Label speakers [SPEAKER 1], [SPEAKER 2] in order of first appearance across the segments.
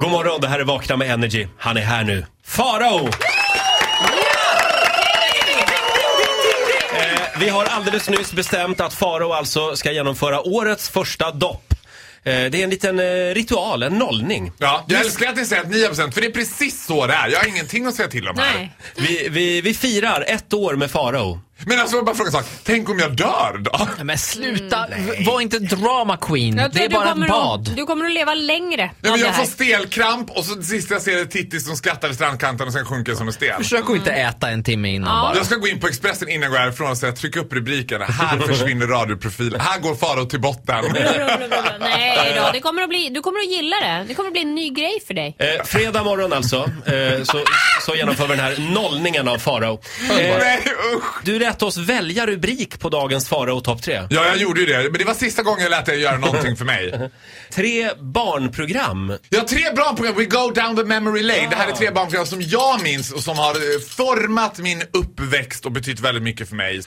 [SPEAKER 1] God morgon, det här är Vakna med Energy. Han är här nu. Farao! Eh, Vi har alldeles nyss bestämt att Farao alltså ska genomföra årets första dopp. Eh, Det är en liten eh, ritual, en nollning.
[SPEAKER 2] Ja, jag älskar att ni säger att 9% för det är precis så det är. Jag har ingenting att säga till om här.
[SPEAKER 3] Nej.
[SPEAKER 1] Vi, vi, vi firar ett år med Farao.
[SPEAKER 2] Men alltså, jag bara fråga en sak. Tänk om jag dör då?
[SPEAKER 4] Nej, Men sluta, v- var inte drama queen.
[SPEAKER 3] Jag
[SPEAKER 4] det
[SPEAKER 3] tror
[SPEAKER 4] är
[SPEAKER 3] du
[SPEAKER 4] bara
[SPEAKER 3] kommer
[SPEAKER 4] ett bad.
[SPEAKER 3] Att, du kommer att leva längre
[SPEAKER 2] Nej,
[SPEAKER 3] av
[SPEAKER 2] men
[SPEAKER 3] det
[SPEAKER 2] jag får
[SPEAKER 3] här.
[SPEAKER 2] stelkramp och så det sista jag ser är Titti som skrattar vid strandkanten och sen sjunker som en sten.
[SPEAKER 4] Försök att inte äta en timme innan
[SPEAKER 3] Ja.
[SPEAKER 4] bara.
[SPEAKER 2] Jag ska gå in på Expressen innan jag går härifrån och säga tryck upp rubrikerna. Här försvinner radioprofilen. Här går Farao till botten.
[SPEAKER 3] Nej då, det kommer att bli, du kommer att gilla det. Det kommer att bli en ny grej för dig.
[SPEAKER 1] Eh, fredag morgon alltså, eh, så, så genomför vi den här nollningen av Farao. Eh,
[SPEAKER 2] Nej usch!
[SPEAKER 1] du lät oss välja rubrik på dagens Farao topp 3.
[SPEAKER 2] Ja, jag gjorde ju det. Men det var sista gången jag lät er göra någonting för mig.
[SPEAKER 1] Tre barnprogram.
[SPEAKER 2] Jag har tre bra program. We go down the memory lane. Det här är tre barnprogram som jag minns och som har eh, format min uppväxt och betytt väldigt mycket för mig.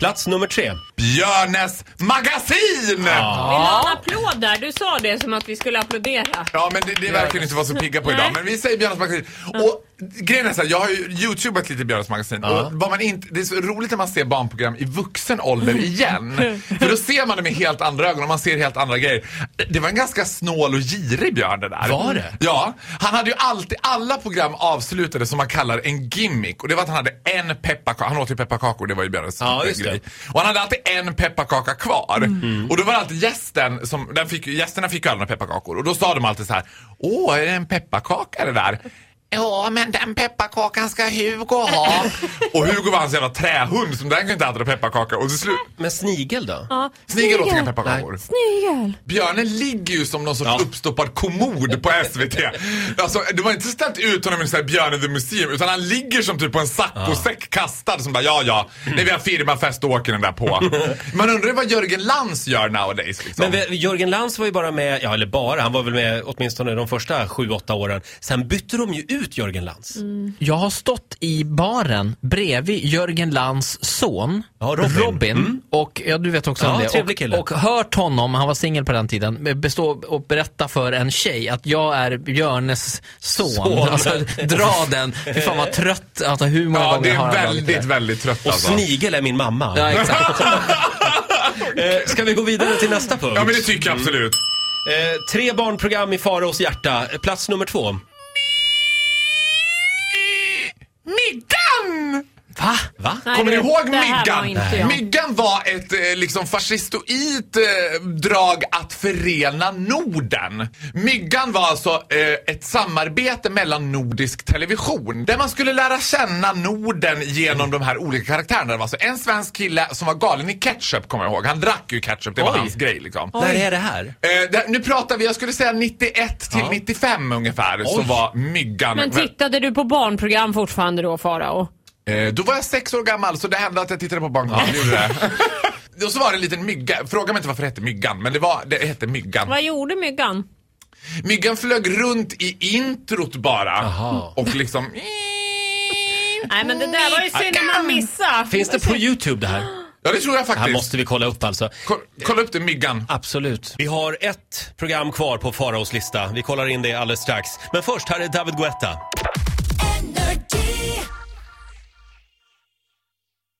[SPEAKER 1] Plats nummer tre.
[SPEAKER 2] Björnes magasin! Ja,
[SPEAKER 3] Vill du ha en applåd där? Du sa det som att vi skulle applådera.
[SPEAKER 2] men det, det verkar ni inte vara så pigga på idag.
[SPEAKER 3] Nej.
[SPEAKER 2] Men vi säger Björnes magasin. Och grejen är så här, jag har ju youtubat lite Björnes magasin. Och vad man inte, det är så roligt när man ser barnprogram i vuxen ålder igen. För då ser man det med helt andra ögon och man ser helt andra grejer. Det var en ganska snål och girig Björn det där.
[SPEAKER 1] Var det?
[SPEAKER 2] Ja, han hade ju alltid, alla program avslutade som man kallar en gimmick. Och det var att han hade en pepparkaka, han åt ju pepparkakor, det var ju Björnes
[SPEAKER 1] Ja, just det. Mm.
[SPEAKER 2] grej. Och han hade alltid en pepparkaka kvar. Och då var det alltid gästen, som, den fick, gästerna fick ju alla några pepparkakor. Och då sa de alltid så här, åh är det en pepparkaka det där? Ja, men den pepparkakan ska Hugo ha. och Hugo var hans jävla trähund, som den kunde inte äta några pepparkakor. Och till slut,
[SPEAKER 1] Men snigel då?
[SPEAKER 3] Ja.
[SPEAKER 2] snigel åt inga
[SPEAKER 3] Snigel.
[SPEAKER 2] pepparkakor.
[SPEAKER 3] Snigel.
[SPEAKER 2] Björnen ligger ju som någon sorts
[SPEAKER 1] Ja.
[SPEAKER 2] uppstoppad kommod på SVT. Alltså, det var inte ställt ut honom i så här Björnen the Museum utan han ligger som typ på en saccosäck kastad som bara ja ja, när vi har firmafest då åker den där på. Man undrar ju vad Jörgen Lantz gör nowadays liksom.
[SPEAKER 1] Men vi- Jörgen Lantz var ju bara med, ja eller bara, han var väl med åtminstone de första sju, åtta åren. Sen bytte de ju ut Jörgen Lantz.
[SPEAKER 4] Jag har stått i baren bredvid Jörgen Lands son,
[SPEAKER 1] Ja, Robin.
[SPEAKER 4] och ja, du vet också
[SPEAKER 1] Ja,
[SPEAKER 4] om
[SPEAKER 1] trevlig
[SPEAKER 4] det,
[SPEAKER 1] kille.
[SPEAKER 4] och, och hört honom, han var singel på den tiden, bestå och berätta för en tjej att jag är Björnes son.
[SPEAKER 1] Son.
[SPEAKER 4] Alltså, dra den, fy fan vad trött, alltså hur många
[SPEAKER 2] ja,
[SPEAKER 4] gånger
[SPEAKER 2] det är
[SPEAKER 4] har han dragit
[SPEAKER 2] väldigt,
[SPEAKER 4] det?
[SPEAKER 2] väldigt trött
[SPEAKER 1] Och
[SPEAKER 2] alltså.
[SPEAKER 1] snigel är min mamma.
[SPEAKER 4] Ja, exakt.
[SPEAKER 1] Eh, Ska vi gå vidare till nästa punkt?
[SPEAKER 2] Ja men det typ- tycker jag absolut.
[SPEAKER 1] eh, tre barnprogram i Faraos hjärta. Eh, Plats nummer två.
[SPEAKER 2] Myggan!
[SPEAKER 4] Va?
[SPEAKER 1] Va?
[SPEAKER 3] Nej,
[SPEAKER 2] Kommer ni
[SPEAKER 3] du,
[SPEAKER 2] ihåg
[SPEAKER 3] det här var
[SPEAKER 2] Myggan?
[SPEAKER 3] inte jag.
[SPEAKER 2] Myggan var ett eh, liksom fascistoid eh, drag att förena Norden. Myggan var alltså eh, ett samarbete mellan nordisk television där man skulle lära känna Norden genom de här olika karaktärerna. Det var alltså en svensk kille som var galen i ketchup kommer jag ihåg. Han drack ju ketchup, det var
[SPEAKER 1] Oj.
[SPEAKER 2] hans grej liksom.
[SPEAKER 1] När är det här?
[SPEAKER 2] Eh, där, nu pratar vi, jag skulle säga 91 till 95 ungefär, så
[SPEAKER 1] Oj.
[SPEAKER 2] var Myggan.
[SPEAKER 3] Men tittade du på barnprogram fortfarande då Farao?
[SPEAKER 2] Eh, då var jag sex år gammal så det hände att jag tittade på barnprogram. Ja. Gjorde det. och så var det en liten mygga. Fråga mig inte varför det hette myggan, men det, var, det hette myggan.
[SPEAKER 3] Vad gjorde myggan?
[SPEAKER 2] Myggan flög runt i introt bara.
[SPEAKER 1] Jaha.
[SPEAKER 2] Och liksom...
[SPEAKER 3] Nej men det där var ju synd när man missade.
[SPEAKER 1] Finns det på YouTube det här?
[SPEAKER 2] Ja, det tror jag
[SPEAKER 1] Det här
[SPEAKER 2] faktiskt.
[SPEAKER 1] måste vi kolla upp alltså.
[SPEAKER 2] Ko- Kolla upp det, myggan.
[SPEAKER 1] Absolut. Vi har ett program kvar på Faraos lista. Vi kollar in det alldeles strax. Men först, här är David Guetta.